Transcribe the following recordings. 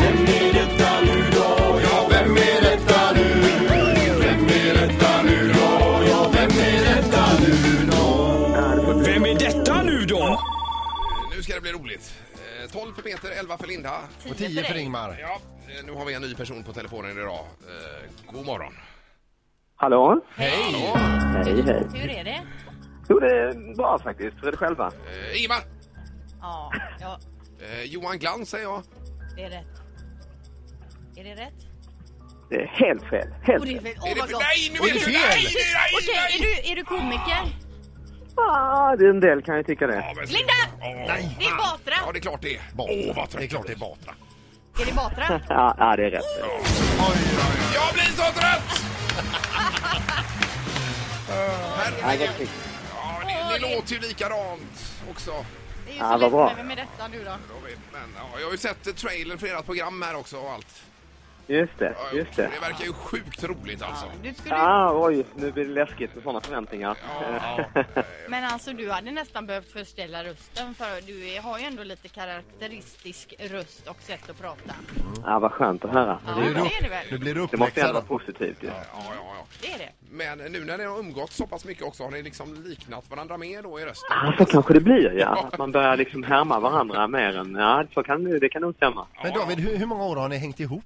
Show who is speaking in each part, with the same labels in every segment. Speaker 1: Vem är detta nu då? Ja, vem är detta nu? Vem är detta nu då? Ja, vem är detta nu då? Vem är detta nu då?
Speaker 2: Nu ska det bli roligt. Eh, 12 för Peter, 11 för Linda.
Speaker 3: Och 10 för Ingmar.
Speaker 2: Ja, eh, nu har vi en ny person på telefonen idag. Eh, god morgon.
Speaker 4: Hallå?
Speaker 3: Hej!
Speaker 4: Hej, hej.
Speaker 5: Hur är det?
Speaker 4: Jo, det är bra faktiskt. Hur är det själva?
Speaker 2: Eh, Ingmar!
Speaker 5: Ja, ja,
Speaker 2: Eh, Johan Glans säger jag.
Speaker 5: det är rätt. Är det rätt?
Speaker 4: Det är helt fel. Helt
Speaker 5: Och det är
Speaker 4: fel.
Speaker 5: väl, oh
Speaker 2: är det
Speaker 5: my
Speaker 2: för,
Speaker 5: god.
Speaker 2: nej, nu
Speaker 3: Oj,
Speaker 2: är det
Speaker 3: fel.
Speaker 2: fel! Nej, nej, nej,
Speaker 5: Okej,
Speaker 2: nej.
Speaker 5: är, du, är du komiker?
Speaker 4: Ah, det är en del kan jag tycka
Speaker 2: Ja,
Speaker 4: det.
Speaker 2: men-
Speaker 5: Linda!
Speaker 2: Åh.
Speaker 3: Nej.
Speaker 5: Det är
Speaker 2: Ja,
Speaker 5: Batra!
Speaker 2: det är klart det är. Åh,
Speaker 3: Batra.
Speaker 2: vad trött
Speaker 3: Det är klart
Speaker 2: jag
Speaker 3: det är
Speaker 2: blir.
Speaker 3: Batra.
Speaker 5: Är det Batra?
Speaker 4: Ja, ja, det är rätt.
Speaker 2: Jag blir så trött! Herregud.
Speaker 4: Ja, det är rätt.
Speaker 2: Ja, det, det låter ju likadant också.
Speaker 5: Det är ju
Speaker 4: Ja,
Speaker 5: så
Speaker 4: vad bra.
Speaker 5: lätt med, med detta nu då.
Speaker 2: Jag vet, Men, ja, jag har ju sett eh, trailern för ert program här också och allt.
Speaker 4: Just det,
Speaker 2: Ja,
Speaker 4: just det.
Speaker 2: Det verkar ju sjukt roligt alltså.
Speaker 5: Du skulle,
Speaker 4: Ah, oj, nu blir det läskigt med sådana förväntningar.
Speaker 2: Ja,
Speaker 5: Men alltså du hade nästan behövt förställa rösten för du är- har ju ändå lite karaktäristisk röst och sätt att prata.
Speaker 4: Ah, vad skönt att höra.
Speaker 5: Ja,
Speaker 3: Nu
Speaker 5: det
Speaker 3: blir du-
Speaker 5: är det väl.
Speaker 3: Nu blir du
Speaker 4: Det måste ju ändå
Speaker 3: uppläxad.
Speaker 4: vara positivt ju.
Speaker 2: ja, ja, ja.
Speaker 5: Det är det.
Speaker 2: Men nu när ni har umgåtts så pass mycket också, har ni liksom liknat varandra mer då i rösten?
Speaker 4: Ah, så kanske det blir ja. Att man börjar liksom härma varandra mer än... Ja, så kan, det- det kan nog stämma.
Speaker 3: Men David, hur, hur många år har ni hängt ihop?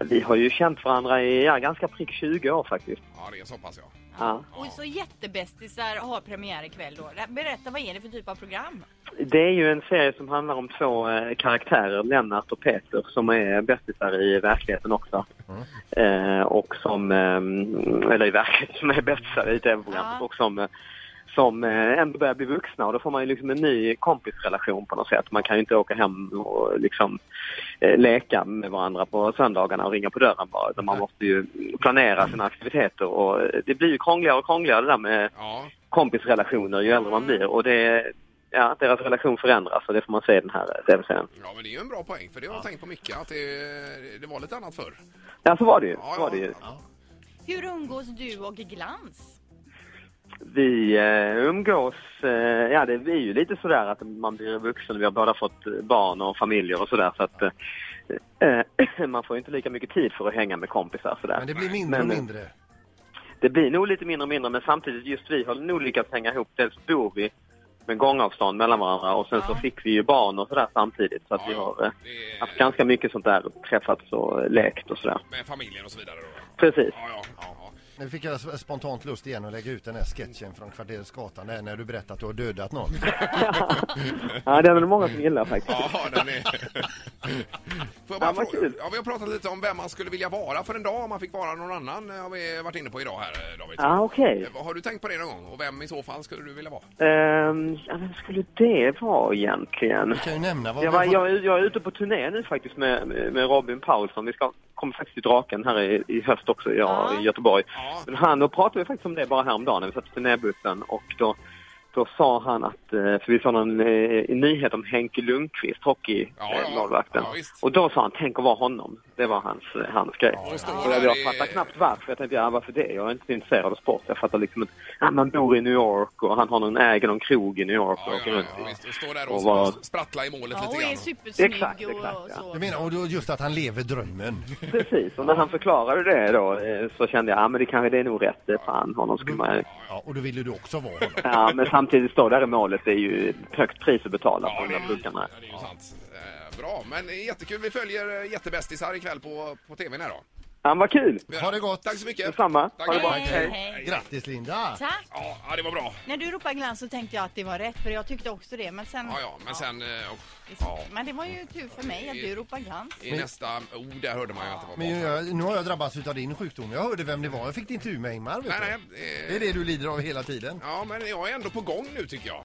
Speaker 4: Vi har ju känt varandra i ja, ganska prick 20 år faktiskt.
Speaker 2: Ja, det är så pass ja.
Speaker 4: Ja.
Speaker 5: Och så jättebästisar har premiär ikväll då. Berätta vad är det för typ av program?
Speaker 4: Det är ju en serie som handlar om två eh, karaktärer, Lennart och Peter, som är bästisar i verkligheten också. Eh, och som, eh, eller i verkligheten, som är bästisar i tv-programmet
Speaker 5: Ja.
Speaker 4: och som, eh, som eh, ändå börjar bli vuxna och då får man ju liksom en ny kompisrelation på något sätt. Man kan ju inte åka hem och liksom eh, leka med varandra på söndagarna och ringa på dörren bara, utan man måste ju planera sina aktiviteter och eh, det blir ju krångligare och krångligare det där med
Speaker 2: Ja,
Speaker 4: kompisrelationer ju äldre man blir. Och det, ja, deras relation förändras och det får man se i den här eh, tv-serien.
Speaker 2: ja men det är ju en bra poäng för det har jag tänkt på mycket att det, det var lite annat förr.
Speaker 4: Ja, så var det ju.
Speaker 2: Ja,
Speaker 4: Så var det ju.
Speaker 5: Hur umgås du och Glans?
Speaker 4: Vi eh, umgås, eh, ja det är ju lite sådär att man blir vuxen, vi har båda fått eh, barn och familjer och sådär så att eh, man får ju inte lika mycket tid för att hänga med kompisar sådär.
Speaker 3: Men det blir mindre och
Speaker 4: Men, eh,
Speaker 3: mindre.
Speaker 4: Det blir nog lite mindre och mindre men samtidigt just vi har nog lyckats hänga ihop. Dels bor vi med gångavstånd mellan varandra och sen så
Speaker 5: Ja.
Speaker 4: fick vi ju barn och sådär samtidigt så att vi har eh,
Speaker 2: det är,
Speaker 4: haft ganska mycket sånt där, träffats och lekt och sådär.
Speaker 2: med familjen och så vidare då.
Speaker 4: Precis.
Speaker 2: Ja, ja, ja. ja.
Speaker 3: Nu fick jag s- spontant lust igen att lägga ut den här sketchen från Kvarterets Gatan där när du berättat att du har dödat någon.
Speaker 4: Ja, det är väl många som gillar faktiskt.
Speaker 2: Ja, den är... Får jag bara
Speaker 4: Ja, vad
Speaker 2: fråga?
Speaker 4: kul.
Speaker 2: Ja, vi har pratat lite om vem man skulle vilja vara för en dag om man fick vara någon annan. Det har vi varit inne på idag här, David.
Speaker 4: Ja, okej.
Speaker 2: Eh, Har du tänkt på det någon gång? Och vem i så fall skulle du vilja vara?
Speaker 4: Ehm, ja, vem skulle det vara egentligen?
Speaker 3: Du kan ju nämna vad
Speaker 4: Jag,
Speaker 3: vi
Speaker 4: var,
Speaker 3: har
Speaker 4: jag,
Speaker 3: fått-
Speaker 4: jag är ute på turné nu faktiskt med, med Robin Paulsson. Vi ska, kommer faktiskt till Draken här i, i höst också, jag,
Speaker 5: Ja.
Speaker 4: i Göteborg.
Speaker 2: Ja.
Speaker 4: Men han, då pratade vi faktiskt om det bara häromdagen när vi satt i turnébussen och då, då sa han att, eh, för vi såg någon eh, nyhet om Henke Lundqvist,
Speaker 2: Ja, ja.
Speaker 4: hockeymålvakten.
Speaker 2: Ja, visst.
Speaker 4: och då sa han, tänk att vara honom. Det var hans, hans grej.
Speaker 2: Och stå
Speaker 4: Och jag,
Speaker 2: där
Speaker 4: jag fattar knappt varför. Jag tänkte, ja, varför det? Jag är inte så intresserad av sport. Jag fattar liksom inte. Ja, man bor i New York och han har någon, äger någon krog i New York och
Speaker 2: Ja,
Speaker 4: åker
Speaker 2: ja,
Speaker 4: runt.
Speaker 2: ja, visst. Och stå där
Speaker 4: Och
Speaker 2: och
Speaker 4: vara-
Speaker 2: sp- sprattla i målet
Speaker 5: Ja, och
Speaker 2: lite
Speaker 5: är
Speaker 2: grann.
Speaker 5: supersnygg
Speaker 4: Exakt,
Speaker 5: och,
Speaker 4: exakt,
Speaker 5: och
Speaker 4: ja.
Speaker 5: så.
Speaker 3: Du menar, och då just att han lever drömmen.
Speaker 4: Precis. Och när han förklarade det då eh, så kände jag, ja men det kanske det är nog rätt. Det är Fan, honom skulle man...
Speaker 3: Ja, och då vill ju du också vara honom.
Speaker 4: Ja, men samtidigt står där i målet. Det är ju ett högt pris att betala
Speaker 2: Ja,
Speaker 4: på de
Speaker 2: det
Speaker 4: där
Speaker 2: är,
Speaker 4: burkarna.
Speaker 2: ja, det är ju sant. Eh, Bra, men det är jättekul. Vi följer eh, jättebästisar ikväll på, på tvn här då.
Speaker 4: Ja, vad kul!
Speaker 3: Ha det gott.
Speaker 2: Tack så mycket.
Speaker 4: Detsamma.
Speaker 2: Tack.
Speaker 4: Ha det bra.
Speaker 2: Hej,
Speaker 4: Hej.
Speaker 3: Grattis Linda!
Speaker 5: Tack!
Speaker 2: Ja, ja, det var bra.
Speaker 5: När du ropade glans så tänkte jag att det var rätt för jag tyckte också det men sen...
Speaker 2: Ja, ja, men sen... eh, oh,
Speaker 5: Visst.
Speaker 2: Ja,
Speaker 5: Men det var ju tur för mig att du ropade glans.
Speaker 2: i nästa... Oh, där hörde man ju att det var
Speaker 3: Men
Speaker 2: bra.
Speaker 3: jag, nu har jag drabbats utav din sjukdom. Jag hörde vem det var. Jag fick det intervju med Ingmar. Vet
Speaker 2: Nej,
Speaker 3: du.
Speaker 2: nej. eh,
Speaker 3: Det är det du lider av hela tiden.
Speaker 2: Ja, men jag är ändå på gång nu tycker jag.